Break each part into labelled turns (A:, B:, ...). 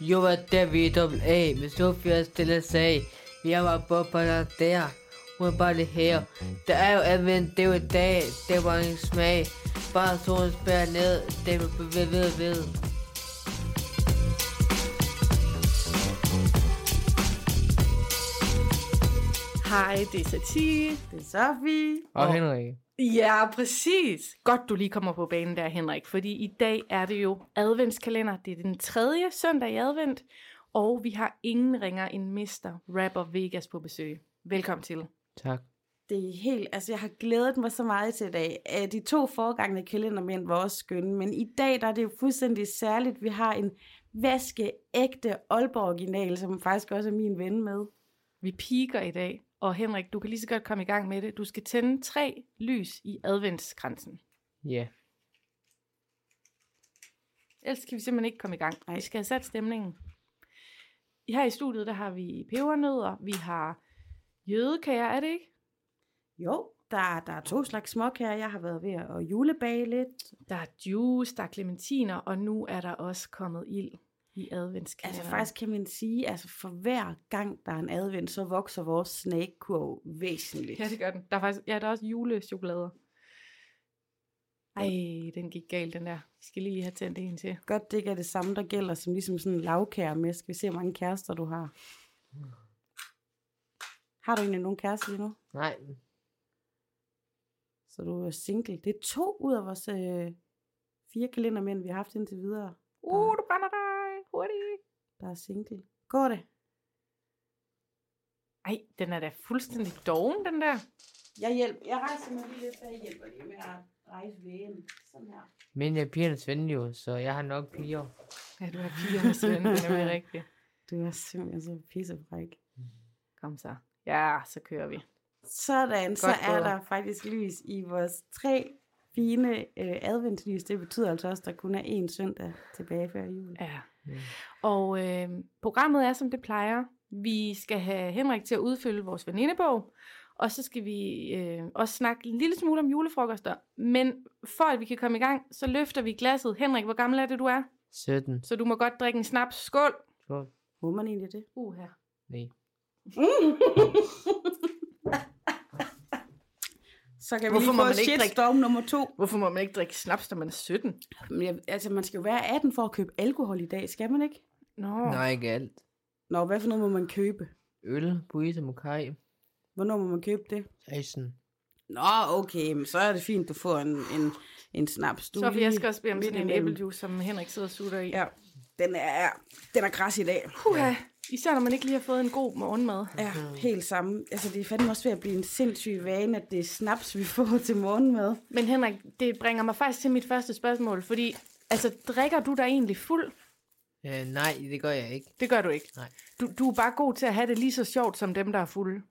A: Yo var David A. Men Sofia stille sagde, jeg var på på der der. Hun var lige her. Der er jo anvendt det var i dag. Det var en smag. Bare solen spær ned. Det var ved ved ved.
B: Hej, det er Satie. Det er Sofie.
A: Og Henrik.
B: Ja, præcis. Godt, du lige kommer på banen der, Henrik, fordi i dag er det jo adventskalender. Det er den tredje søndag i advent, og vi har ingen ringer end Mr. Rapper Vegas på besøg. Velkommen til.
A: Tak.
C: Det er helt, altså jeg har glædet mig så meget til i dag. Øh, De to foregangne kalendermænd var også skønne, men i dag der er det jo fuldstændig særligt. Vi har en vaskeægte Aalborg-original, som faktisk også er min ven med.
B: Vi piker i dag, og Henrik, du kan lige så godt komme i gang med det. Du skal tænde tre lys i adventskransen.
A: Ja. Yeah.
B: Ellers kan vi simpelthen ikke komme i gang.
C: Nej.
B: Vi skal have sat stemningen. Her i studiet, der har vi pebernødder, vi har jødekager, er det ikke?
C: Jo, der, der er to slags småkager. Jeg har været ved at julebage lidt.
B: Der er juice, der er clementiner, og nu er der også kommet ild i adventskalenderen.
C: Altså faktisk kan man sige, altså for hver gang der er en advent, så vokser vores snackkurv væsentligt.
B: Ja, det gør den. Der er faktisk, ja, der er også julechokolader. Ej, den gik galt, den der. Vi skal lige have tændt en til.
C: Godt, det ikke er det samme, der gælder som ligesom sådan en lavkære med. Skal vi se, hvor mange kærester du har? Har du egentlig nogen kærester lige nu?
A: Nej.
C: Så du er single. Det er to ud af vores øh, fire kalendermænd, vi har haft indtil videre,
B: Uh, du brænder dig hurtigt.
C: der er single. Går det?
B: Ej, den er da fuldstændig doven, den der.
C: Jeg hjælper. Jeg rejser mig lige lidt, så jeg hjælper lige med at rejse vægen. Sådan her.
A: Men jeg er pigernes ven jo, så jeg har nok piger.
B: Ja, du har piger med Svend, det er nemlig rigtigt.
C: Du er simpelthen så pissefræk.
B: Kom så. Ja, så kører vi.
C: Sådan, Godt så er
B: gået.
C: der faktisk lys i vores tre fine øh, adventslys. Det betyder altså også, at der kun er én søndag tilbage før jul.
B: Ja.
A: Mm.
B: Og øh, programmet er, som det plejer. Vi skal have Henrik til at udfylde vores venindebog, og så skal vi øh, også snakke en lille smule om julefrokoster. Men for at vi kan komme i gang, så løfter vi glasset. Henrik, hvor gammel er det, du er?
A: 17.
B: Så du må godt drikke en snaps. Skål!
A: Skål.
C: Må man egentlig det?
B: Uh, her.
A: Nej.
C: Så kan vi
B: Hvorfor
C: lige få
B: må man ikke drikke-
C: shitstorm nummer to.
B: Hvorfor må man ikke drikke snaps, når man er 17?
C: Men jeg, altså, man skal jo være 18 for at købe alkohol i dag, skal man ikke?
B: Nå,
A: Nej, ikke alt.
C: Nå, hvad for noget må man købe?
A: Øl, buise, mokai,
C: Hvornår må man købe det?
A: 16.
C: Nå, okay, men så er det fint, du får en, en, en snaps. Du
B: så vi
C: lige
B: jeg skal også bede om
C: midt
B: sådan en
C: imellem.
B: æblejuice, som Henrik sidder og sutter i.
C: Ja, den er, den er græs i dag.
B: Puha, især når man ikke lige har fået en god morgenmad.
C: Ja, helt samme. Altså, det er fandme også ved at blive en sindssyg vane, at det er snaps, vi får til morgenmad.
B: Men Henrik, det bringer mig faktisk til mit første spørgsmål, fordi altså, drikker du dig egentlig fuld?
A: Øh, nej, det gør jeg ikke.
B: Det gør du ikke.
A: Nej.
B: Du, du er bare god til at have det lige så sjovt som dem, der er fulde.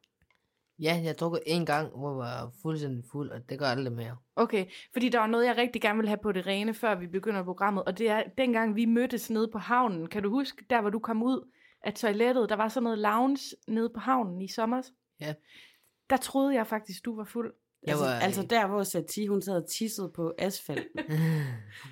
A: Ja, jeg drukket en gang, hvor jeg var fuldstændig fuld, og det gør jeg aldrig mere.
B: Okay, fordi der var noget, jeg rigtig gerne ville have på det rene, før vi begynder programmet, og det er, dengang vi mødtes nede på havnen, kan du huske, der hvor du kom ud af toilettet, der var sådan noget lounge nede på havnen i sommer?
A: Ja.
B: Der troede jeg faktisk, du var fuld.
A: Jeg
C: altså,
A: var,
C: altså, der, hvor Satie, hun sad og tissede på asfalten.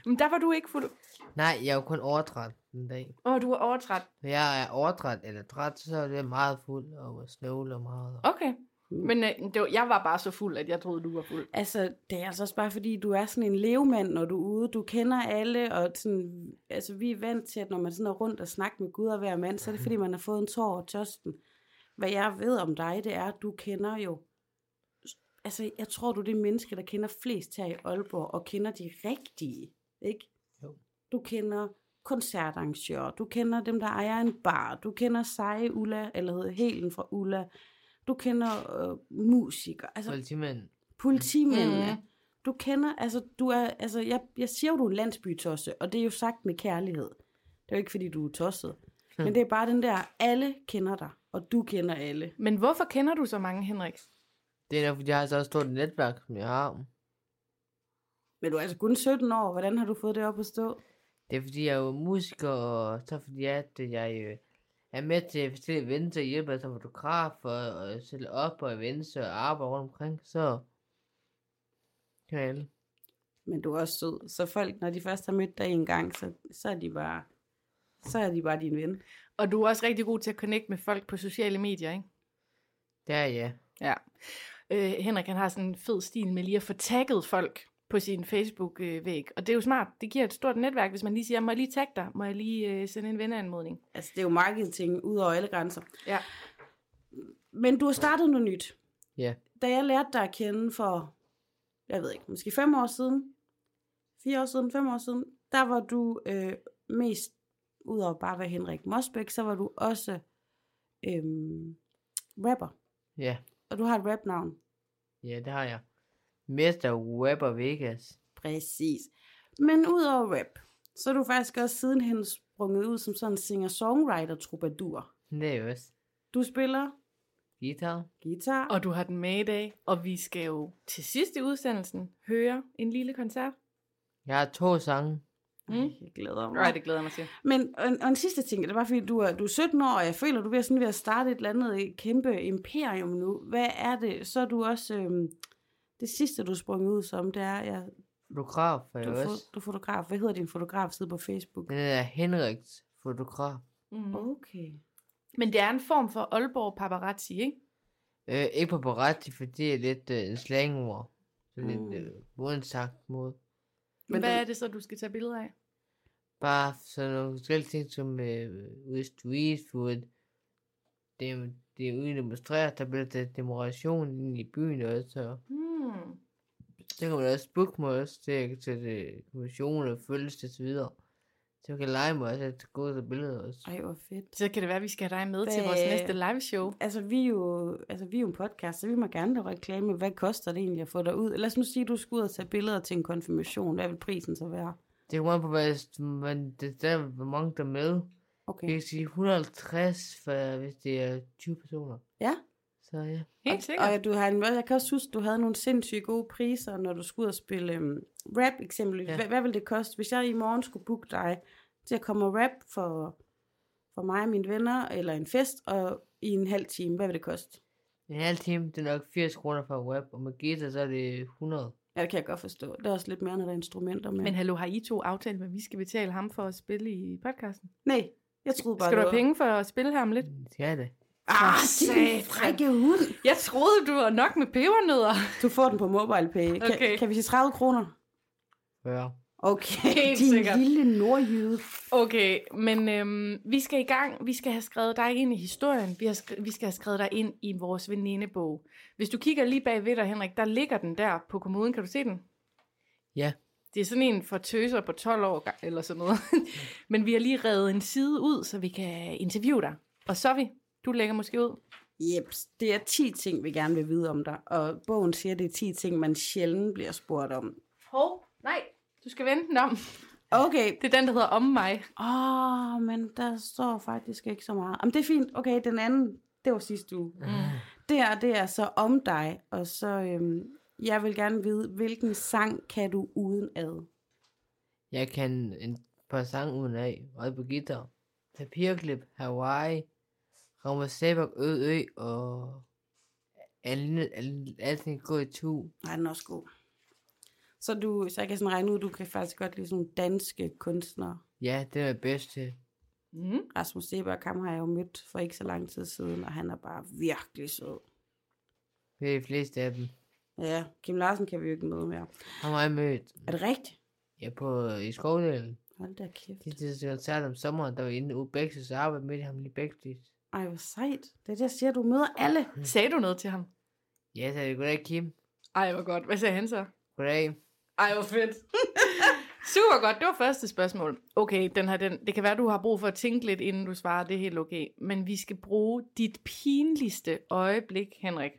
B: Men der var du ikke fuld.
A: Nej, jeg var kun overtræt den dag.
B: Åh, oh, du var overtræt.
A: Når jeg er overtræt eller træt, så er det meget fuld og snøvler meget.
B: Okay. Men øh, det var, jeg var bare så fuld, at jeg troede, du var fuld.
C: Altså, det er altså også bare fordi, du er sådan en levemand, når du er ude. Du kender alle, og sådan, altså, vi er vant til, at når man sådan er rundt og snakker med Gud og hver mand, så er det fordi, man har fået en tår over tørsten. Hvad jeg ved om dig, det er, at du kender jo... Altså, jeg tror, du er det menneske, der kender flest her i Aalborg, og kender de rigtige, ikke?
A: Jo.
C: Du kender koncertarrangører, du kender dem, der ejer en bar, du kender seje Ulla, eller hedder Helen fra Ulla, du kender øh, musikere. Altså,
A: Politimanden.
C: politimændene. Mm. Du kender, altså, du er, altså jeg, jeg siger jo, du er en landsbytosse, og det er jo sagt med kærlighed. Det er jo ikke, fordi du er tosset. Mm. Men det er bare den der, alle kender dig, og du kender alle.
B: Men hvorfor kender du så mange, Henrik?
A: Det er nok, fordi jeg har så stort et netværk, som jeg har.
C: Men du er altså kun 17 år, hvordan har du fået det op at stå?
A: Det er fordi, jeg er jo musiker, og så fordi jeg, at jeg øh, er med til forskellige events og hjælper som fotograf og, og sætte op og events og arbejder rundt omkring, så kan jeg alle.
C: Men du er også sød, så folk, når de først har mødt dig en gang, så, så er de bare, så er de bare din ven.
B: Og du er også rigtig god til at connecte med folk på sociale medier, ikke?
A: Det er ja.
B: Ja. Øh, Henrik, han har sådan en fed stil med lige at få tagget folk på sin Facebook-væg. Og det er jo smart. Det giver et stort netværk, hvis man lige siger, må jeg lige tagge dig? Må jeg lige øh, sende en venneanmodning?
C: Altså, det er jo marketing ud over alle grænser.
B: Ja.
C: Men du har startet noget nyt.
A: Ja.
C: Da jeg lærte dig at kende for, jeg ved ikke, måske fem år siden, fire år siden, fem år siden, der var du øh, mest, udover bare at være Henrik Mosbæk, så var du også øh, rapper.
A: Ja.
C: Og du har et rapnavn.
A: Ja, det har jeg. Mester Webber Vegas.
C: Præcis. Men udover rap, så er du faktisk også sidenhen sprunget ud som sådan en singer-songwriter-troubadour.
A: Det er jo også
C: Du spiller
A: guitar.
C: guitar.
B: Og du har den med i dag. Og vi skal jo til sidst i udsendelsen høre en lille koncert.
A: Jeg har to sange.
B: Mm.
C: Ej, jeg glæder mig.
B: Right, det glæder jeg mig til.
C: Men og, en- og en sidste ting, det er bare fordi, du er, du er 17 år, og jeg føler, du bliver sådan ved at starte et eller andet kæmpe imperium nu. Hvad er det? Så er du også... Øhm, det sidste, du sprang ud som, det er, ja,
A: Fotograf er
C: du,
A: jeg
C: er
A: også.
C: fo- du er fotograf. Hvad hedder din fotografside på Facebook?
A: Den er Øh, Henriks fotograf.
B: Mm.
C: Okay.
B: Men det er en form for Aalborg paparazzi, ikke?
A: Øh, ikke på paparazzi, for det er lidt øh, en slangord. Sådan
C: Mm.
A: lidt øh, uansagt måde.
B: Men
C: Men
B: Hvad
C: du-
B: er det så, du skal tage billeder af?
A: Bare sådan nogle forskellige ting, som øh, ude i streetfood. Det, er- det er ude at demonstrere, der bliver der demonstration inde i byen også. Og
B: Hmm.
A: så kan man også booke mig også til, til, til kommissioner, følges og så videre. Så man kan lege mig også, at gå til billeder også.
C: Ej, hvor fedt.
B: Så kan det være, at vi skal have dig med til
C: Hvad-
B: vores næste liveshow.
C: Altså vi, er jo, altså, vi er jo en podcast, så vi må gerne lave reklame. Hvad koster det egentlig at få dig ud? Lad os nu sige, at du skulle ud og tage billeder til en konfirmation. Hvad vil prisen så være?
A: Det kommer an på, hvad, men det der, hvor mange der er med.
C: Okay.
A: Vi kan sige 150, for, hvis det er 20 personer.
C: Ja.
A: Så ja.
B: Helt sikkert.
C: Og du har en, jeg kan også huske, du havde nogle sindssygt gode priser, når du skulle ud og spille øhm, rap eksempelvis.
A: Ja.
C: Ja. Hvad, hvad ville det koste, hvis jeg i morgen skulle booke dig til at komme og rap for, for mig og mine venner, eller en fest, og i en halv time, hvad vil det koste?
A: En halv time, det er nok 80 kroner for en web, og med guitar, så er det 100.
C: Ja, det kan jeg godt forstå. Det er også lidt mere, når der er instrumenter med.
B: Men
C: Men...
B: hallo, har I to aftalt, hvad vi skal betale ham for at spille i podcasten?
C: Nej, jeg troede bare,
B: Skal du have
C: var-
B: penge for at spille ham lidt?
A: Ja, det.
C: Ah,
B: For
C: din
B: satan.
C: frække hund!
B: Jeg troede, du var nok med pebernødder.
C: Du får den på MobilePay. Kan,
B: Okay.
C: kan vi sige 30 kroner?
A: 40.
C: Okay,
B: Helt
C: din
B: sikkert.
C: lille nordjyde.
B: Okay, men øhm, vi skal i gang. Vi skal have skrevet dig ind i historien. Vi, har skri- vi skal have skrevet dig ind i vores venindebog. Hvis du kigger lige bagved dig, Henrik, der ligger den der på kommoden. Kan du se den?
A: Ja.
B: Det er sådan en for tøser på 12 år ga- eller sådan noget. men vi har lige revet en side ud, så vi kan interviewe dig. Og så er vi. Du lægger måske ud.
C: Jeps, det er 10 ting, vi gerne vil vide om dig, og bogen siger, det er 10 ting, man sjældent bliver spurgt om.
B: Hov, nej. Du skal vende den om.
C: Okay,
B: Det er den, der hedder Om mig.
C: åh, oh, men der står faktisk ikke så meget. Jamen, det er fint, okay, den anden, det var sidste uge. Mm. Det her, det er så om dig, og så, øhm, jeg vil gerne vide, hvilken sang kan du uden ad?
A: Jeg kan en par sange uden af, og på guitar. Papirklip, Hawaii, Rammer Sæbak, Ø, Ø, og alle- alle- alting går i tu.
C: Nej, den er også god. Så, du, så jeg kan sådan regne ud, du kan faktisk godt lide sådan nogle danske kunstnere.
A: Ja, det er det bedste.
B: Mm.
C: Rasmus Sebak, ham har jeg jo mødt for ikke så lang tid siden, og han er bare virkelig sød.
A: Det er de fleste af dem.
C: Ja, Kim Larsen kan vi jo ikke møde mere.
A: Ham har jeg mødt.
C: Er det rigtigt?
A: Ja, på, i skovdelen.
C: Hold da kæft.
A: Det er til koncert om sommeren, der var inde ude Bækstis og arbejdede med ham lige Bækstis.
C: Ej, hvor sejt. Det er det, jeg siger, du møder alle.
B: Mm. Sagde du noget til ham?
A: Ja, så er det goddag Kim.
B: Ej, hvor godt. Hvad sagde han så?
A: Goddag.
B: Ej, hvor fedt. Super godt. Det var første spørgsmål. Okay, den her, den, det kan være, du har brug for at tænke lidt, inden du svarer. Det er helt okay. Men vi skal bruge dit pinligste øjeblik, Henrik.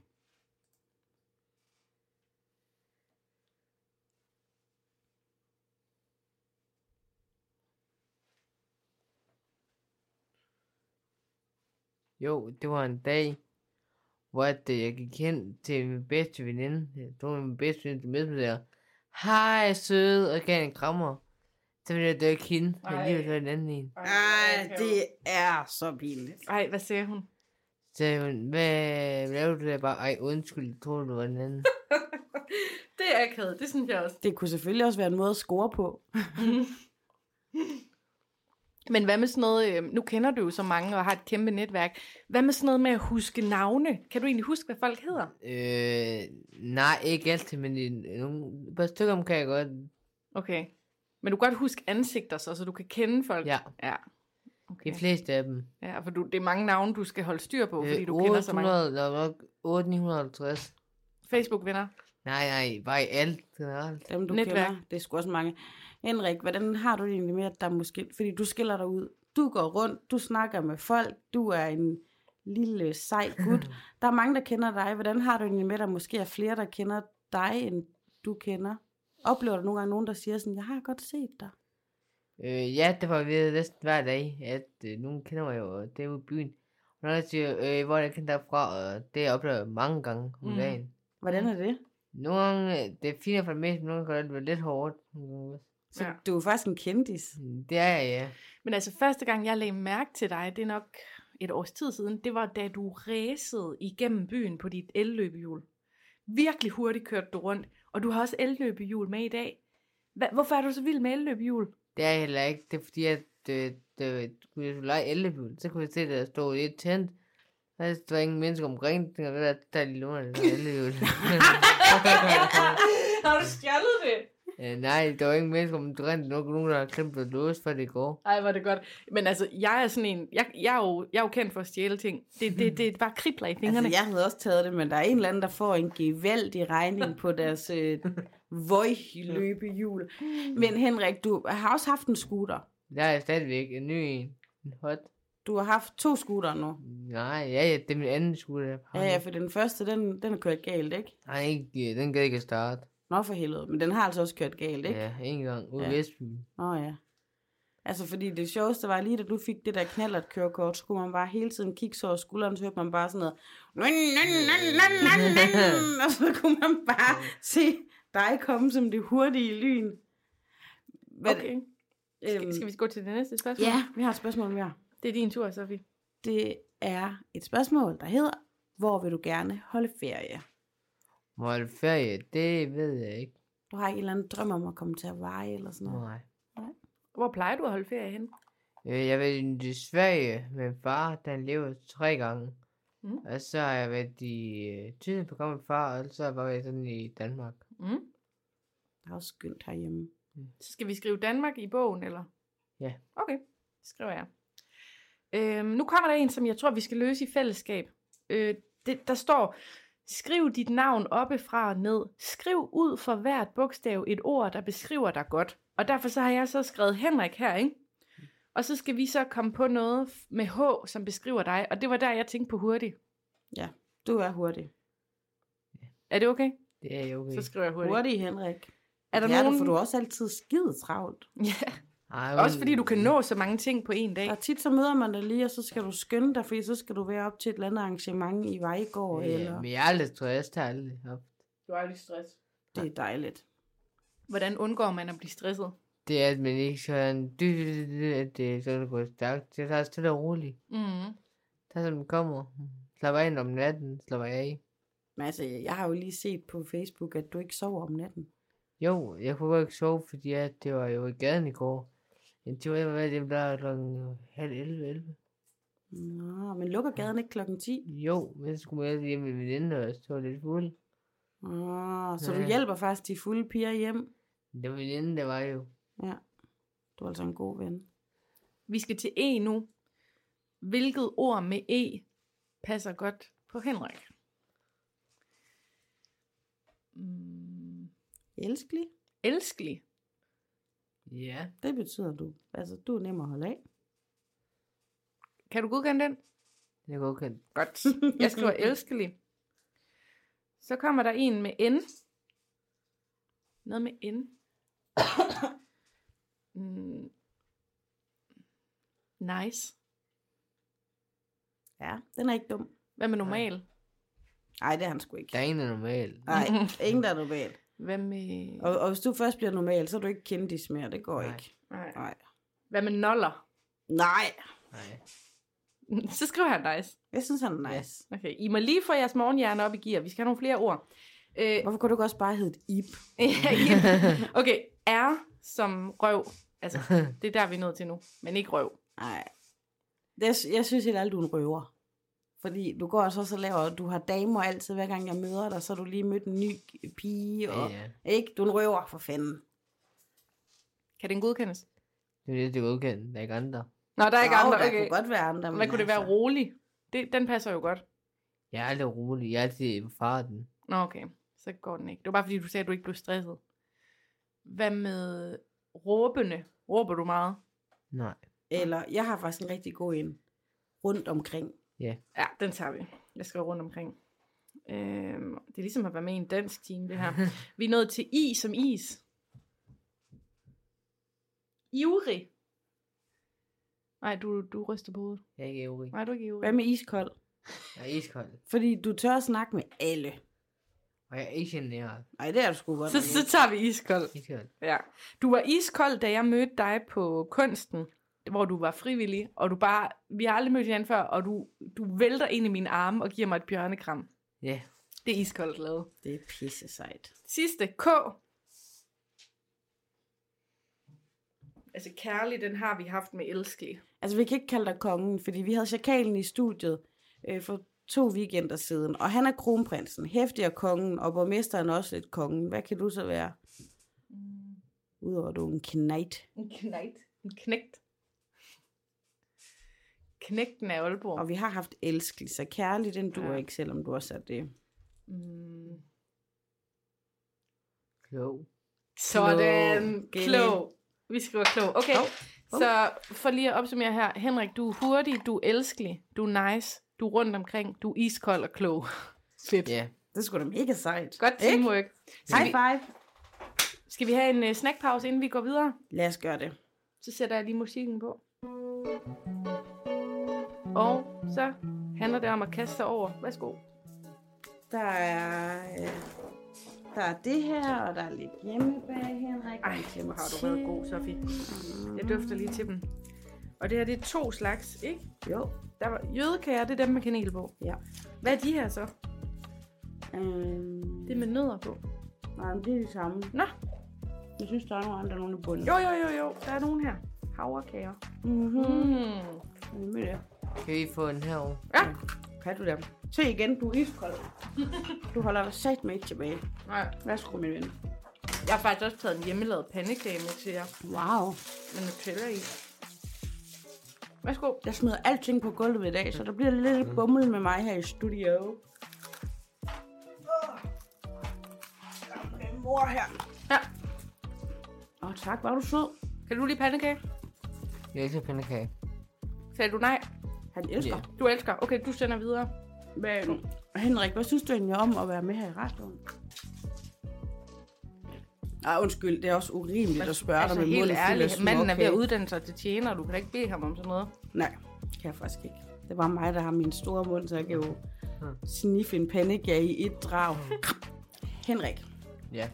A: Jo, det var en dag, hvor at, øh, jeg gik hen til min bedste veninde. Jeg tog min bedste veninde til middag Hej, søde, og gav en krammer. Så ville jeg dø ikke hende, men
B: Ej.
A: alligevel var en anden en.
C: Ej, det er så pinligt.
B: Ej, hvad siger hun?
A: Så sagde hun, hvad laver du der bare? Ej, undskyld, jeg troede, du var en anden.
B: Det er akavet. Det synes jeg også.
C: Det kunne selvfølgelig også være en måde at score på.
B: Men hvad med sådan noget, øh, nu kender du jo så mange og har et kæmpe netværk. Hvad med sådan noget med at huske navne? Kan du egentlig huske, hvad folk hedder?
A: Øh, nej, ikke altid, men i nogle et par stykker om kan jeg godt.
B: Okay. Men du kan godt huske ansigter så, så du kan kende folk?
A: Ja,
B: Ja,
A: de
B: okay.
A: fleste af dem.
B: ja for du, det er mange navne, du skal holde styr på, fordi
A: Øh,
B: du kender så mange.
A: 800, der var nok 850.
B: Facebook-venner.
A: Nej, nej, bare i alt generelt.
C: Dem, du
B: Netværk.
C: Netværk. kender, det er sgu også mange. Henrik, hvordan har du det egentlig med, at der måske... Fordi du skiller dig ud. Du går rundt, du snakker med folk, du er en lille sej gut. Der er mange, der kender dig. Hvordan har du det egentlig med, at der måske er flere, der kender dig, end du kender? Oplever du nogle gange nogen, der siger sådan, jeg har godt set dig?
A: Øh, ja, det var ved næsten hver dag, at øh, nogen kender mig jo, og det er ude i byen. Og når jeg siger, øh, hvor er jeg kendt derfra, og det oplever jeg mange gange om
B: Mm.
A: mm. dagen.
C: Hvordan er det?
A: Nogle gange, øh, det er fint at få det med, men nogle gange kan det være lidt hårdt. Mm,
C: Så
B: Ja.
C: ja. du er faktisk en kendis.
A: Det er jeg, ja.
B: Men altså første gang, jeg lagde mærke til dig, det er nok et års tid siden, det var da du ræsede igennem byen på dit elløbehjul. Virkelig hurtigt kørte du rundt, og du har også elløbehjul med i dag. Hva, hvorfor er du så vild med elløbehjul?
A: Det er jeg heller ikke. Det er fordi, at øh, det, kunne jeg skulle lege ellebyen, så kunne jeg se, at der stod et tændt. Og der var ingen mennesker omkring, det var der, der er lige lungerne, der er ellebyen.
B: Har du stjålet det?
A: øh, nej, der var ingen mennesker omkring, der var nogen, der har klemt og låst, før det går.
B: Ej, var det godt. Men altså, jeg er sådan en, jeg, jeg, er, jo, jeg er jo kendt for at stjæle ting. Det, det, det bare kribler i fingrene.
C: Altså, jeg havde også taget det, men der er en eller anden, der får en gevældig regning på deres øh, vøj-løbehjul. Men Henrik, du har også haft en scooter.
A: Der er stadigvæk en ny en. En hot.
C: Du har haft to scooter nu.
A: Nej, ja, ja, det er min anden skole. jeg har.
C: Ja, ja, for den første, den, den har kørt galt, ikke?
A: Nej, ikke, øh, den gad ikke at starte.
C: Nå for helvede, men den har altså også kørt galt, ikke? Ja.
A: Ja, en gang. Ude
C: Ja.
A: ja. Vestby.
C: Nå ja. Altså, fordi det sjoveste var lige, da du fik det der knallert kørekort, skulle man bare hele tiden kigge så over skulderen, så hørte man bare sådan noget. "Nun, nun, nun, nun, nun, nun," Og så kunne man bare se dig komme som det hurtige lyn. Hvad,
B: Okay.
C: øhm,
B: Skal, skal vi gå til det næste spørgsmål?
C: Ja, vi har et spørgsmål mere.
B: Det er din tur, Sofie.
C: Det er et spørgsmål, der hedder, hvor vil du gerne holde ferie?
A: Må holde ferie, det ved jeg ikke.
C: Du har ikke en eller anden drøm om at komme til Hawaii eller sådan noget?
A: Nej.
B: Hvor plejer du at holde ferie hen?
A: Øh, jeg har været i Sverige med en far, der lever tre gange.
B: Mm.
A: Mm. Og så har jeg været i øh, Tyskland på gammel far, og så har jeg bare været sådan i Danmark.
B: Mm?
C: Det er også skønt herhjemme.
B: Så skal vi skrive Danmark i bogen, eller?
A: Ja.
B: Okay, det skriver jeg. Øhm, nu kommer der en, som jeg tror, vi skal løse i fællesskab. Øh, det, der står, skriv dit navn oppefra og ned. Skriv ud for hvert bogstav et ord, der beskriver dig godt. Og derfor så har jeg så skrevet Henrik her, ikke? Og så skal vi så komme på noget f- med H, som beskriver dig. Og det var der, jeg tænkte på hurtigt.
C: Du er hurtig.
B: Er det okay?
A: Det er jo okay.
B: Så skriver jeg hurtigt.
C: Hurtig, Henrik.
B: Er der
C: ja,
B: nogen...
C: du, for du er også altid skide travlt.
B: Ja,
A: Ej,
B: også fordi du kan nå så mange ting på en dag.
C: Der er tit, så møder man dig lige, og så skal du skynde dig, fordi så skal du være op til et eller andet arrangement i Vejgaard, ja, eller...
A: Ja, men jeg er aldrig stresset, har jeg aldrig haft.
B: Du har aldrig stress.
C: Det er dejligt.
B: Hvordan undgår man at blive stresset?
A: Det er, at man ikke sådan, dy- dy- dy- dy- at det er sådan det går stærkt. Det tager stille og roligt.
B: Mm.
A: Tag som den kommer. Slap af om natten, slap af.
C: Men altså, jeg har jo lige set på Facebook, at du ikke sover om natten.
A: Jo, jeg kunne godt ikke sove, fordi at det var jo i gaden i går. En time jeg var været hjemme der klokken halv 11, 11.
C: Nå, men lukker gaden ikke klokken 10?
A: Jo, men så skulle jeg hjem med min veninde, og så var lidt fuld.
C: Nå, så du
A: Ja.
C: hjælper faktisk de fulde piger hjem.
A: Det var veninde, der var jo.
C: Ja, du er altså en god ven.
B: Vi skal til E nu. Hvilket ord med E passer godt på Henrik? Mm.
C: Elskelig.
B: Elskelig.
A: Ja.
C: Det betyder du. Altså, du er nem at holde af.
B: Kan du godkende den?
A: Det er godkendt.
B: Godt. Jeg skriver elskelig. Så kommer der en med N. Noget med N. mm. Nice.
C: Ja, den er ikke dum.
B: Hvad med normal?
C: Nej, det er han sgu
A: Der
C: ikke.
A: er ingen der er normal.
C: Nej, ingen der er normal.
B: Hvad med...
C: Og, og hvis du først bliver normal, så er du ikke kendis mere. Det går
A: Nej.
C: ikke.
B: Nej.
C: Nej.
B: Hvad med noller?
C: Nej.
A: Nej.
B: Så skriver han nice.
C: Jeg synes, han er nice.
B: Okay, I må lige få jeres morgenhjerne op i gear. Vi skal have nogle flere ord. Øh,
C: Hvorfor kunne du ikke også bare hedde et Ip?
B: okay, R som røv. Altså, det er der, vi er nået til nu. Men ikke røv.
C: Nej. Jeg, sy- jeg synes helt aldrig, du er en røver. Fordi du går også og så laver, du har damer altid, hver gang jeg møder dig, så har du lige mødt en ny pige. Og,
A: Ja,
C: Ikke? Du er en røver, for fanden.
B: Kan den godkendes?
A: det er det, du er udkendt. Der er ikke andre.
B: Nå, der er ikke
C: Jo,
B: andre.
C: Der
B: Okay.
C: kunne godt være andre.
B: Hvad
C: men
B: kunne det være?
C: altså,
B: Rolig? Det, den passer jo godt.
A: Jeg er aldrig rolig. Jeg er altid i farten.
B: Nå, okay. Så går den ikke. Det var bare fordi, du sagde, at du ikke blev stresset. Hvad med råbende? Råber du meget?
A: Nej.
C: Eller, jeg har faktisk en rigtig god en. Rundt omkring.
B: Ja, den tager vi. Jeg skal rundt omkring. Øhm, det er ligesom at være med i en dansk team, det her. Vi er nået til I som is. Ivrig. Nej, du, du ryster på hovedet.
A: jeg er ikke ivrig.
B: Nej, du er ikke ivrig.
C: Hvad med iskold?
A: Jeg er iskold.
C: Fordi du tør at snakke med alle.
A: Og jeg er ikke generet.
C: Nej, det er du sgu godt.
B: Så,
C: nok
B: så
C: ikke.
B: tager vi iskold.
A: Iskold.
B: Ja. Du var iskold, da jeg mødte dig på kunsten, hvor du var frivillig, og du bare, vi har aldrig mødt hinanden før, og du, du vælter ind i mine arme og giver mig et bjørnekram.
A: Ja.
B: Det er iskoldt lavet.
C: Det er pisse sejt.
B: Sidste, K. Altså kærlig, den har vi haft med elskelig.
C: Altså, vi kan ikke kalde dig kongen, fordi vi havde chakalen i studiet øh, for to weekender siden, og han er kronprinsen, hæftig og kongen, og borgmesteren er også lidt kongen. Hvad kan du så være?
B: Mm.
C: Udover at du er en knight.
B: En knægt. En knægt. Knægten af Aalborg.
C: Og vi har haft elskelig, så kærlig, den duer
B: Ja.
C: ja. ikke, selvom du også er det.
B: Mm.
A: Klog.
B: Sådan,
C: Gilly.
B: klog. Vi skriver klog. Okay,
C: Hov, hov.
B: så for lige at opsummere her. Henrik, du er hurtig, du er elskelig, du er nice, du er rundt omkring, du er iskold og klog. Fedt.
A: Ja.
C: Det er sgu da mega sejt.
B: Godt
C: Ikke?
B: teamwork.
C: High
B: Skal vi,
C: five.
B: skal vi have en uh, snackpause, inden vi går videre?
C: Lad os gøre det.
B: Så sætter jeg lige musikken på. Og så handler det om at kaste sig over. Værsgo.
C: Der er, øh, der er det her, og der er lidt hjemme bag Henrik.
B: Ej, hvor har du været god, Sofie. Jeg dufter lige til dem. Og det her, det er to slags, ikke?
C: Jo.
B: Der var jødekager, det er dem med kanel på.
C: Ja.
B: Hvad er de her så?
C: Øhm,
B: Det er med nødder på.
C: nej, men øhm, det er det samme.
B: Nå,
C: Jeg synes, der er nogle andre, nogle i bunden.
B: jo jo jo jo, der er nogen her. Havrekager.
C: Mm-hmm.
B: Mm.
C: Mm.
A: Kan vi få den herovre?
B: Ja.
C: Kan du dem? Se igen, du er iskold. Du holder dig sat med ikke tilbage.
B: Nej,
C: Værsgo, min ven.
B: jeg har faktisk også taget en hjemmelavet pandekage med til jer.
C: Wow.
B: Med Nutella i. Værsgo.
C: Jeg smider alting på gulvet i dag, så der bliver lidt
B: Mm.
C: bummel med mig her i studio. Åh, der er min mor her.
B: Ja.
C: Åh, tak. Var du sød?
B: Kan du lide pandekage?
A: Jeg elsker pandekage.
B: Sagde du nej?
C: Han elsker.
A: Ja.
B: Du elsker. Okay, du sender videre.
C: Hvad er du? Henrik, hvad synes du egentlig om at være med her i radioen? Ej, Ah, undskyld, det er også urimeligt at spørge dig med
B: altså, helt
C: munden fuld af
B: ærligt,
C: små
B: manden er ved at
C: kage.
B: uddanne sig til tjener, og du kan da ikke bede ham om sådan noget.
C: Nej, det kan jeg faktisk ikke. Det var mig, der har min store mund, så jeg kan jo Hm. sniffe en pandekage i et drag. Henrik,
A: Ja.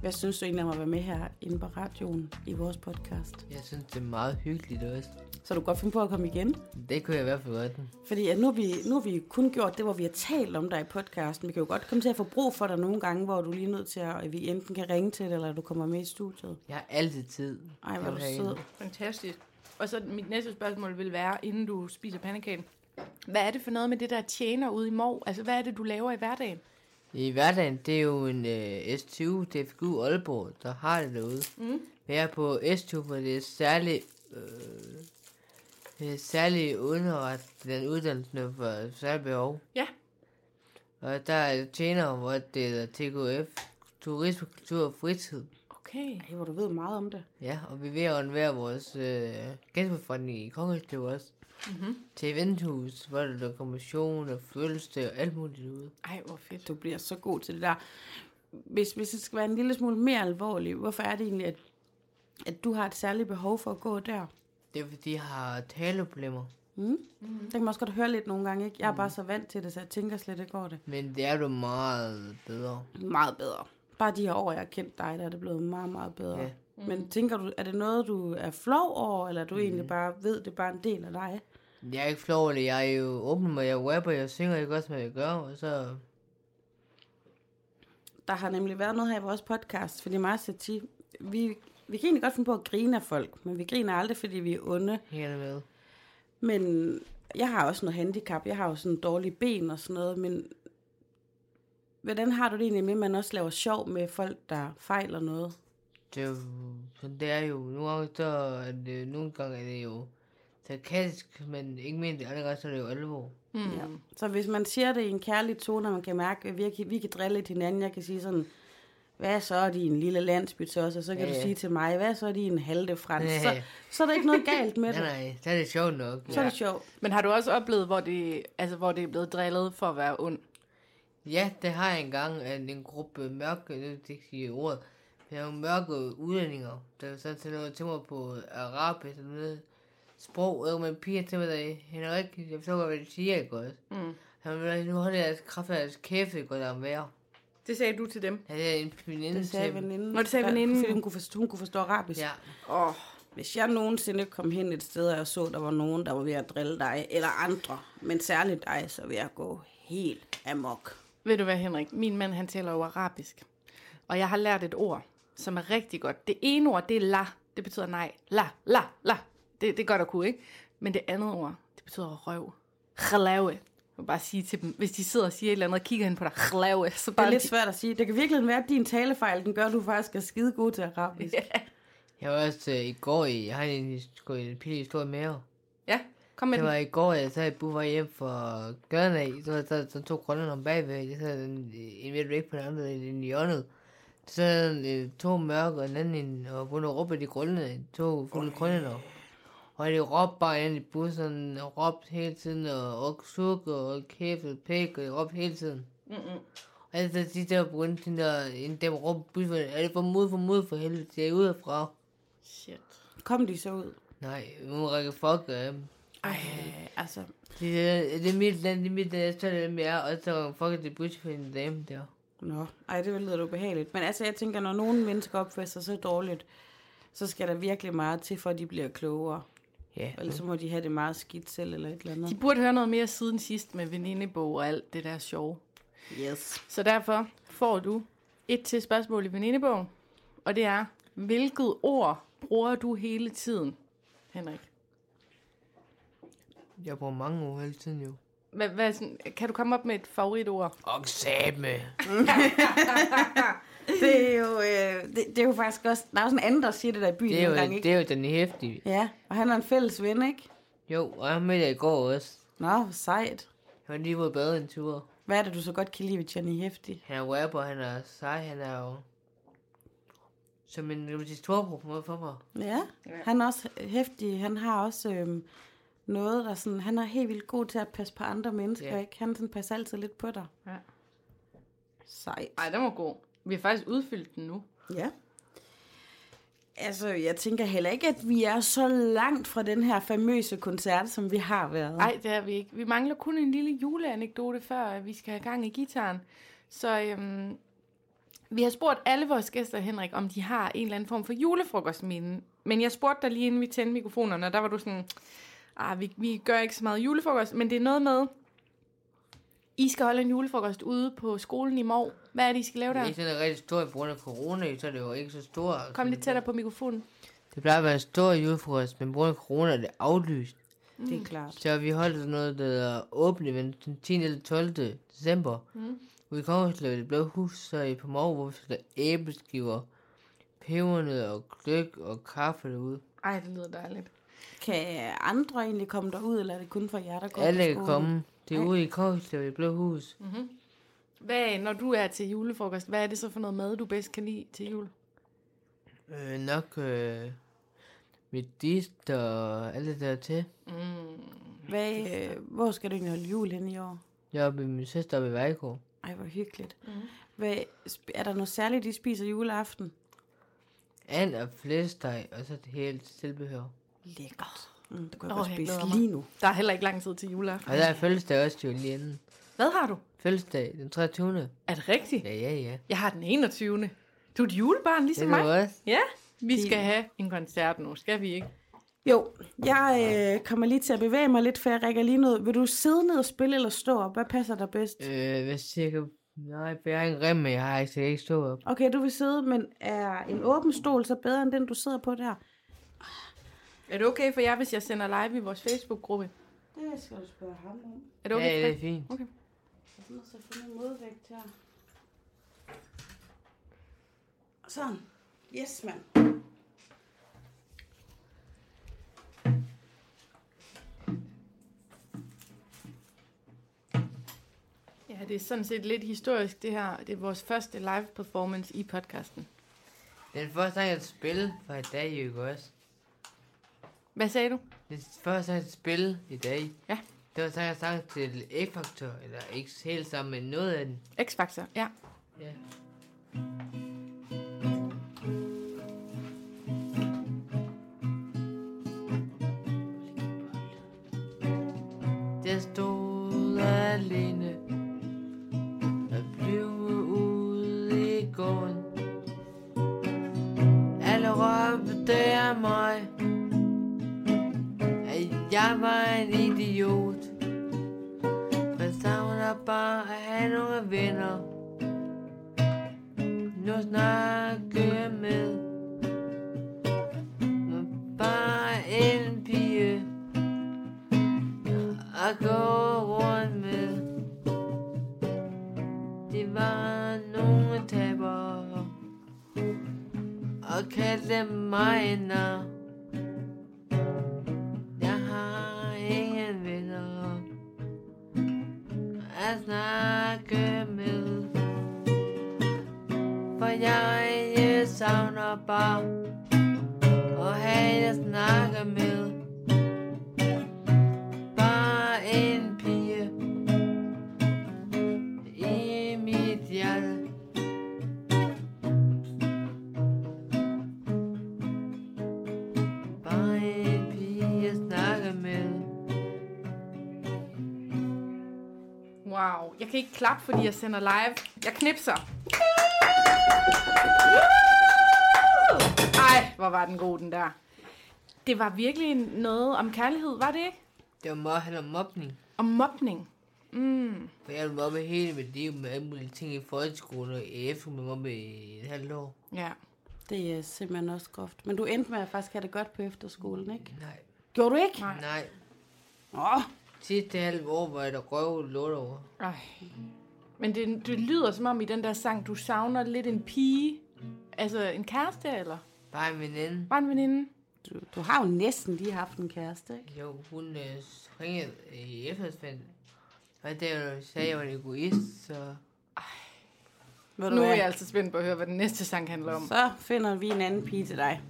C: hvad synes du egentlig om at være med her inde på radioen i vores podcast?
A: Jeg synes, det er meget hyggeligt også.
C: Så du kan godt finde på at komme igen?
A: Det kunne jeg i hvert fald godt.
C: Fordi at nu, har vi, nu har vi kun gjort det, hvor vi har talt om dig i podcasten. Vi kan jo godt komme til at få brug for dig nogle gange, hvor du lige er nødt til, at, at vi enten kan ringe til dig, eller du kommer med i studiet.
A: Jeg har altid tid.
C: Ej, hvor er du
A: Okay.
C: sød.
B: Fantastisk. Og så mit næste spørgsmål vil være, inden du spiser pandekagen. Hvad er det for noget med det, der tjener ude i Mor? Altså, hvad er det, du laver i hverdagen?
A: I hverdagen, det er jo en øh, S20 DFGU Aalborg, der har det derude. Mm. Men jeg er på S20, for det er særlig, øh, det er særlig underret den uddannelse for særlige behov.
B: Ja,
A: Og der er tjenere, hvor det er TKF, turisme, kultur og fritid.
B: okay.
C: Ej, hvor du ved meget om det.
A: Ja, og vi er ved at renovere vores øh, gæstbeforretning i Kongerslev også. Mm-hmm. Til eventhus, hvor der er kommission og følelse og alt muligt derude.
B: Ej, hvor fedt.
C: Du bliver så god til det der. Hvis, hvis det skal være en lille smule mere alvorlig, hvorfor er det egentlig, at, at du har et særligt behov for at gå der?
A: Det er fordi, jeg har taleproblemer.
C: Mm? Mm. Det kan man også godt høre lidt nogle gange, ikke? Jeg er bare så vant til det, så jeg tænker slet ikke over det.
A: Men det er du meget bedre.
C: Meget bedre. Bare de her år, jeg har kendt dig, der er det blevet meget, meget bedre.
A: Ja.
C: Mm. Men tænker du, er det noget, du er flov over, eller er du mm. egentlig bare ved, det er bare en del af dig?
A: Jeg er ikke flov over det. Jeg er jo åben, og jeg rapper, jeg synger ikke også, hvad jeg gør. Og så...
C: Der har nemlig været noget her i vores podcast, fordi mig og Sati, vi Vi kan egentlig godt finde på at grine af folk, men vi griner aldrig, fordi vi er onde.
A: Helt med.
C: Men jeg har også noget handicap. Jeg har jo sådan dårlige ben og sådan noget, men hvordan har du det egentlig med, at man også laver sjov med folk, der fejler noget?
A: Det er jo, så det er jo, nogle gange så er det, nogle gange er det jo sarkastisk, men ikke mindst, andre gange så er det jo alvor.
B: Mm.
C: Ja. Så hvis man siger det i en kærlig tone, og man kan mærke, at vi kan, vi kan drille lidt hinanden, jeg kan sige sådan, hvad så din lille landsby til os, og så kan
A: Ja,
C: du
A: ja.
C: sige til mig, hvad så din halde frans,
A: Ja,
C: så,
A: ja.
C: så er der ikke noget galt med
A: Nej,
C: det.
A: nej, så er det sjovt nok.
C: Så er
A: Ja,
C: det sjovt.
B: Men har du også oplevet, hvor det, altså, hvor det er blevet drillet for at være ond?
A: ja det har jeg engang, at en gruppe mørke, nu skal jeg ikke sige ordet, men nogle mørke udlændinger, der så til noget til mig på arabisk og noget sprog, og med piger til mig, der Henrik, jeg forstår godt, hvad de siger, ikke også?
B: Mm.
A: Han vil nu holde jeres kraft af jeres kæft, det går der om vejr.
B: Det sagde du til dem.
A: Han er en veninde
C: Det sagde
A: til dem.
C: veninden.
B: Nå, det sagde
C: Ja,
B: veninden.
C: Fordi hun kunne forstå, hun kunne forstå arabisk.
A: Ja,
B: Åh, oh,
C: Hvis jeg nogensinde kom hen et sted, og jeg så, der var nogen, der var ved at drille dig, eller andre, men særligt dig, så vil jeg gå helt amok.
B: Ved du hvad, Henrik? Min mand, han taler jo arabisk. Og jeg har lært et ord, som er rigtig godt. Det ene ord, det er la. Det betyder nej. La, la, la. Det, det er godt at kunne, ikke? Men det andet ord, det betyder røv. Hlave. Jeg vil bare sige til dem, hvis de sidder og siger et eller andet, og kigger hen på dig, hlave, så
C: Det
B: bare...
C: er lidt
B: de-
C: svært at sige. Det kan virkelig være, at din talefejl, den gør, at du faktisk er skide god til arabisk.
B: Ja.
A: jeg var også øh, i går i, jeg har en, his- en pinlig historie med jer.
B: ja, kom med
A: Det var
B: den.
A: i går, jeg sad i buffet hjem fra gaden af, så var der sådan to grønne om bagved, jeg sad den, en ved væk på den anden, den i hjørnet. Så sad der øh, to mørke og den anden, en, og begyndte at råbe af de grønne, to fulde grønne der. Og de råbte bare ind i bussen, og råbte hele tiden, og og suk, og kæft, og pæk, og de råbte hele tiden.
B: Mm-mm.
A: Og så de der begyndte den der, en dem råbte i bussen, er det for mod, for mod, for helvede, det er ude fra.
B: Shit.
C: Kom de så ud?
A: Nej, nu rækker fuck af dem.
C: Ej, altså.
A: Det, er- det er mit land, det er mit land, jeg tager det med jer, og så fuck det busk for en dame der.
C: Nå, ej, det lyder da ubehageligt. Men altså, jeg tænker, når nogle mennesker opfører sig så dårligt, så skal der virkelig meget til, for at de bliver klogere.
A: Ja.
C: Ellers så må de have det meget skidt selv, eller et eller
B: De
C: andet.
B: burde høre noget mere siden sidst med venindebog og alt det der sjove.
C: Yes.
B: Så derfor får du et til spørgsmål i venindebogen, og det er, hvilket ord bruger du hele tiden, Henrik?
A: Jeg bruger mange ord hele tiden jo.
B: Hvad, hvad, er sådan- kan du komme op med et favoritord?
A: Og sabe.
C: Det er jo, øh, det, det er jo faktisk også... Der er jo sådan en anden, der siger det der i byen
A: Det er
C: nogle gange,
A: jo,
C: ikke?
A: det er jo den hæftige.
C: Ja, og han er en fælles ven, ikke?
A: Jo, og jeg mødte jer i går også.
C: Nå, hvor sejt.
A: Han var lige på bade en tur.
C: Hvad er det, du så godt kan lide ved Johnny Hefti?
A: Han er rapper, han er sej, han er jo... Som en som sin storbror på en måde for mig.
C: Ja, han er også heftig. Han har også øhm, noget, der sådan... Han er helt vildt god til at passe på andre mennesker,
A: Ja.
C: ikke? Han sådan passer altid lidt på dig.
B: Ja.
C: Sejt.
B: Ej, den var god. Vi har faktisk udfyldt den nu.
C: Ja. Altså, jeg tænker heller ikke, at vi er så langt fra den her famøse koncert, som vi har været.
B: Nej, det er vi ikke. Vi mangler kun en lille juleanekdote, før vi skal have gang i gitaren. Så øhm, vi har spurgt alle vores gæster, Henrik, om de har en eller anden form for julefrokostminde. Men jeg spurgte dig lige inden vi tændte mikrofonerne, og der var du sådan, ah, vi, vi gør ikke så meget julefrokost, men det er noget med, I skal holde en julefrokost ude på skolen i morgen. Hvad er det, I skal lave
A: Det er
B: der?
A: ikke sådan en rigtig stor på grund af corona, så er det jo ikke så stor.
B: Kom lidt tættere på mikrofonen.
A: Det plejer at være en stor julefrokost, men på grund af corona er det aflyst.
C: Det er klart.
A: Så vi holdt sådan noget, der hedder åbent event den 10. eller 12. december. Mm. Ude i Kongeslav, det blå hus, så i på morgen, hvor vi sætter æbleskiver, pebernød og gløk og kaffe derude.
B: Ej, det lyder dejligt.
C: Kan andre egentlig komme derud, eller er det kun for jer, der går
A: Alle
C: på
A: kan
C: skolen?
A: komme. Det er ude i Kongeslav, det blå hus. Mm.
B: Hvad, når du er til julefrokost, hvad er det så for noget mad, du bedst kan lide til jul?
A: Øh, nok øh, mit dist og alt det der til.
C: Hvad, øh, hvor skal du egentlig holde jul hen i år?
A: Jeg er med min søster oppe i Vejgaard.
C: Ej, hvor hyggeligt. Mm. Hvad, sp- er der noget særligt, I spiser juleaften?
A: And og flæsteg, og så det hele tilbehør.
C: Lækkert. Mm, det kunne
B: Åh,
C: jeg oh,
B: jeg
C: godt spise
B: glæder mig.
C: lige nu.
B: Der er heller ikke lang tid til juleaften.
A: Og der er fødselsdag også jo lige inden.
B: Hvad har du?
A: Fødselsdag den 23.
B: Er det rigtigt?
A: Ja, ja, ja.
B: Jeg har den 21. Du er et julebarn
A: Det er
B: ligesom
A: du
B: mig.
A: også.
B: Ja, vi skal have en koncert nu, skal vi ikke?
C: Jo, jeg øh, kommer lige til at bevæge mig lidt, for jeg rækker lige noget. Vil du sidde ned og spille eller stå op? Hvad passer dig bedst?
A: Øh, hvis jeg kan Nej, for jeg har en remme, jeg har altså ikke stået op.
C: Okay, du vil sidde, men er en åben stol så bedre end den, du sidder på der?
B: Er det okay for jer, hvis jeg sender live i vores Facebook-gruppe?
C: Det skal du spørge ham om.
B: Er det okay?
A: ja,
B: for
A: det
B: jer?
A: er fint.
B: Okay.
C: Jeg er nødt til at finde en modvægt her. Sådan. Yes, mand.
B: Ja, det er sådan set lidt historisk, det her. Det er vores første live performance i podcasten.
A: Den første sang, jeg spillede, var i dag, ikke også?
B: Hvad sagde du?
A: Den første sang, jeg spillede i dag,
B: Ja.
A: det var sang, jeg sang til X-Factor, eller ikke helt sammen, men noget af den.
B: X-Factor, ja.
A: Ja. Jeg stod alene og blev ude i gården. Alle råbte af mig, at jeg var en idiot. Men savner bare at have nogle venner nu snakke jeg med med bare en pige at gå rundt med. Det var nogle tabere og kaldte mig en nar. Jeg har ingen venner at snakke med. For jeg øh, savner bare Og have at snakke med Bare en pige I mit hjerte Bare en pige at snakke med
B: Wow. Jeg kan ikke klappe, fordi jeg sender live. Jeg knipser. Ej, hvor var den god, den der. Det var virkelig noget om kærlighed, var det ikke?
A: Det var meget handler om mobning
B: Om mobning. Mm.
A: For jeg mobbede hele mit liv med alle mulige ting i folkeskolen og i efter med mobbe i et halvt år
B: Ja.
C: Det er simpelthen også groft. Men du endte med at faktisk have det godt på efterskolen, ikke?
A: Nej,
C: Gjorde du ikke?
B: Nej.
A: nej
C: Åh,
A: Sidste halve år var jeg der røv lort over.
B: Ej. Men det, det lyder som om i den der sang, du savner lidt en pige. Altså en kæreste, eller?
A: Bare en veninde.
B: Bare en veninde.
C: du, du har jo næsten lige haft en kæreste, ikke?
A: Jo, hun øh, ringede i efterårsfanden. Og der sagde, jeg var en egoist, så...
C: Ved du
B: Nu er
C: hvad?
B: jeg altså spændt på at høre, hvad den næste sang handler om.
C: Så finder vi en anden pige til dig.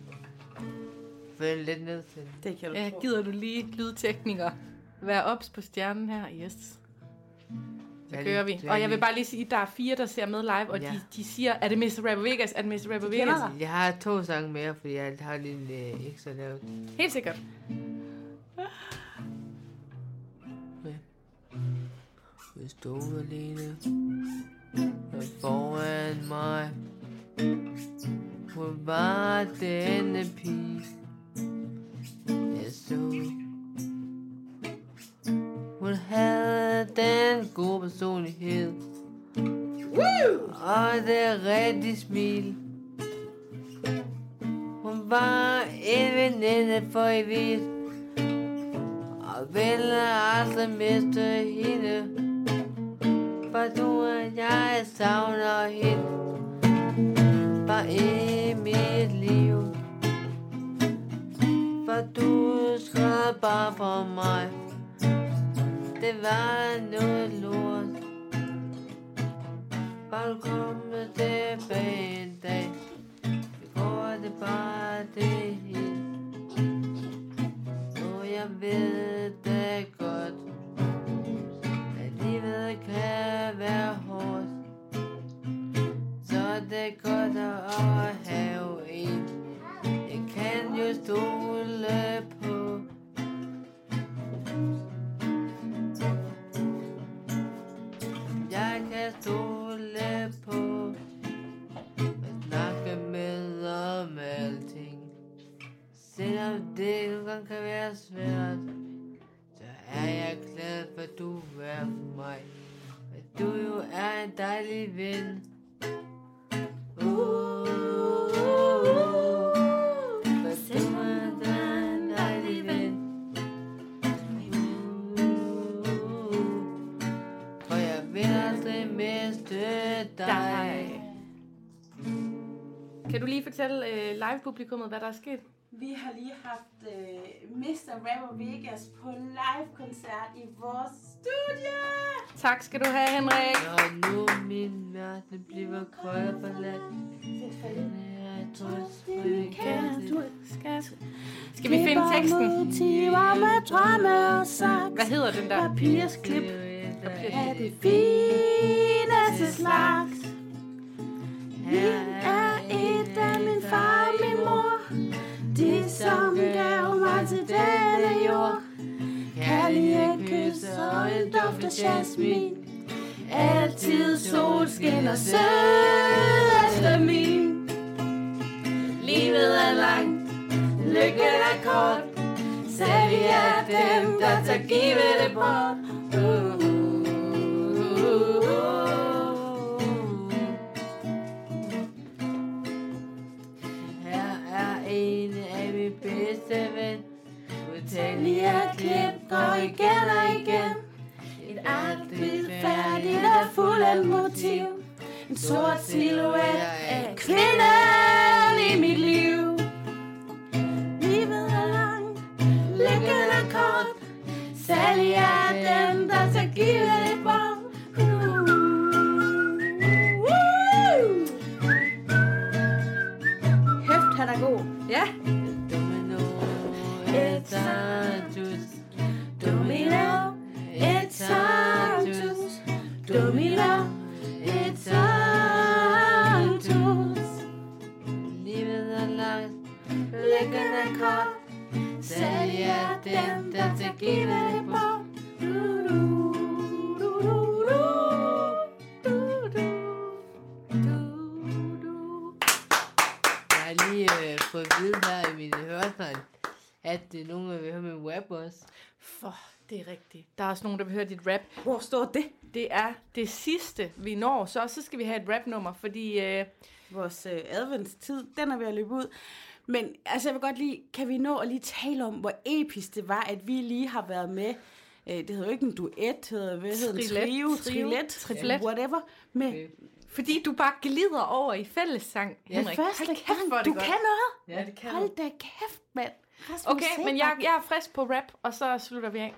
A: For jeg er lidt ned til den.
C: Det kan du
B: Ja,
C: tro.
B: gider du lige lydtekniker? Vær ops på stjernen her, yes. Så
A: Ja,
B: kører
A: det-
B: vi.
A: det er
B: Og jeg vil
A: lige-
B: bare lige sige, at der er fire, der ser med live, og
A: Ja.
B: de, de siger, er det Mr. Rapper Vegas? Er det Mr. Rapper Vegas?
C: kender
A: Jeg har to sange mere, fordi jeg har lige en øh, ekstra lavet.
B: Helt sikkert.
A: med. Jeg stod alene og foran mig. Hun var denne pige, jeg så. Hun havde den gode personlighed. Og det rigtige smil. Hun var en veninde for evigt. Og ville aldrig miste hende For du og jeg savner hende Bare i mit liv For du skrev bare for mig Det var noget lort Bare du kommer tilbage en dag Så går det bare det hele og jeg ved det godt At livet kan være hårdt Så det er godt at have en Jeg kan jo stole på Jeg kan stole på At snakke med om alting Selvom det nogle gange kan være svært, så er jeg glad for, at du er for mig. At du jo er en dejlig evig vind. Uh, uh, uh, uh. Sig mig, der er en dejlig vind. Uh, uh, uh. For jeg vil aldrig miste dig.
B: Kan du lige fortælle øh, live-publikummet, hvad der er sket?
C: Vi har lige haft øh, Mr. Rapper Vegas på live-koncert i vores studie.
B: Tak skal du have, Henrik.
A: Når nu min verden bliver kold og forladt, finder jeg trøst, for jeg kan det.
B: Skal, skal vi finde teksten?
C: Motiver med drømme og saks.
B: Hvad hedder den der?
C: Papirsklip
A: Her
C: er det fineste slags. Er et af min far og min mor. De som gav mig til denne jord. Kærlighed, kys og en duft af jasmin. Altid solskin og sødeste min. Livet er langt, lykken er kort. Så vi er dem, der tager give det bort. Uh, uh, uh, uh.
A: Her er en af mine bedste ven. Utallige
C: Utallige klip går igen og igen.
A: Et
C: Altid færdigt og fuld af motiv. En sort silhuet af kvinden i mit liv. Livet er langt, lykken er kort. Særlig er den, der så giver det bort. Uh, uh. Hæft, han er god.
B: Ja.
A: Domino,
C: It's
A: it's
C: a
A: a juice.
C: Domino, it's on twos. Domino, it's on twos.
A: Livet er langt,
C: Lækker den kort, sælg jer dem, der skal give det bort.
A: Jeg har lige øh, fået at vide her i min hørsel, at det er nogen, der vil høre min rap også.
B: For, det er rigtigt. Der er også nogen, der vil høre dit rap.
C: Hvor står det?
B: Det er det sidste, vi når, så så skal vi have et rap-nummer, fordi øh,
C: Vores øh, adventstid, den er ved at løbe ud. Men altså, jeg vil godt lige, kan vi nå at lige tale om, hvor episk det var, at vi lige har været med, øh, det hedder jo ikke en duet, hedder, hvad hedder en
B: Trillet.
C: trio,
B: Trio.
C: trillet,
B: Triplet.
C: whatever, med
A: Øh,
B: fordi du bare glider over i fællessang,
A: Ja,
B: Henrik.
C: første
B: Hold kæft,
C: gang.
B: hvor er det
C: Du
B: godt.
C: kan noget.
A: Ja, det kan
C: Hold da kæft, mand. Rasmus
B: Okay, men jeg, jeg er frisk på rap, og så slutter vi af.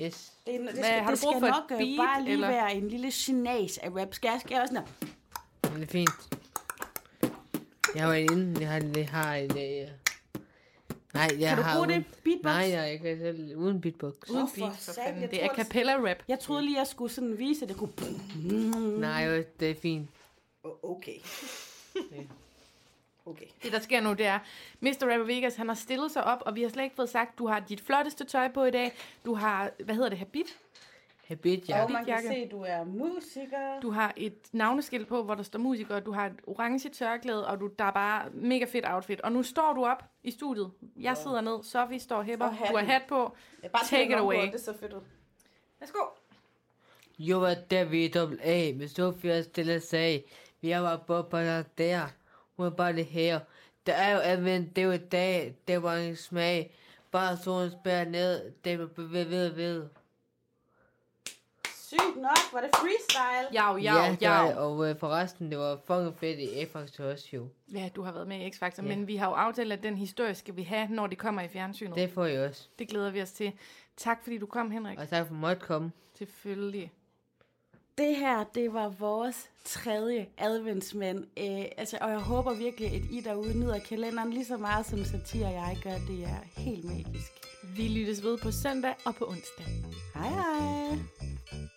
A: Yes.
C: Det, det,
B: Hvad,
C: skal,
B: har du
C: det
B: brug
C: skal
B: for et
C: nok øh,
B: beat,
C: bare lige
B: eller?
C: være en lille genas af rap. Skal jeg, skal jeg også sådan
A: Men det er fint. Jeg var inde, jeg har, jeg har en... Øh, nej, jeg
C: Kan du
A: har
C: bruge
A: uden,
C: det? Beatbox?
A: Nej, jeg er ikke selv uden beatbox.
C: Uden
B: Uden beat,
C: for
B: for
C: satan,
B: fanden.
C: jeg
B: Det er
C: troede, det-
B: cappella-rap.
C: Jeg troede lige, jeg skulle sådan vise, at det kunne...
A: Nej, jo, det er fint.
C: Åh, Okay. Okay.
B: Det, der sker nu, det er, Mr. Rapper Vegas, han har stillet sig op, og vi har slet ikke fået sagt, du har dit flotteste tøj på i dag, du har, hvad hedder det, habit,
A: Habit,
C: Og
A: ja.
C: man kan
B: Jakke.
C: se, at du er musiker.
B: du har et navneskilt på, hvor der står musiker, du har et orange tørklæde, og du, der er bare mega fedt outfit. Og nu står du op i studiet. Jeg sidder ned, Sofie står hæpper,
C: Og hatten.
B: du har hat på.
C: Jeg bare
B: Take
C: tænker
B: it
C: om,
B: away.
C: hvor Det er så fedt ud.
B: Værsgo.
A: Jo, var der vi dobbelt A, men Sofia stille sagde, vi var på på der der, hun var bare det her. Der er jo anvendt det er jo i dag, det var en smag. Bare solen spærer ned, det var ved, ved, ved.
C: Sygt nok, var det freestyle. Ja.
B: Jau, jau,
A: ja,
B: jau.
A: der, og øh, forresten, det var fucking fedt i A-Factor også jo.
B: Ja, du har været med i
A: Ja.
B: X-Factor, men vi har jo aftalt, at den historie skal vi have, når det kommer i fjernsynet. Det,
A: Det får jeg også.
B: det glæder vi os til. Tak, fordi du kom, Henrik.
A: Og tak for at måtte komme.
B: Selvfølgelig.
C: Det her, det var vores tredje adventsmand. Øh, altså, og jeg håber virkelig, at I derude nyder kalenderen lige så meget, som Satir og jeg gør. Det er helt magisk.
B: Vi lyttes ved på søndag og på onsdag.
C: Hej hej.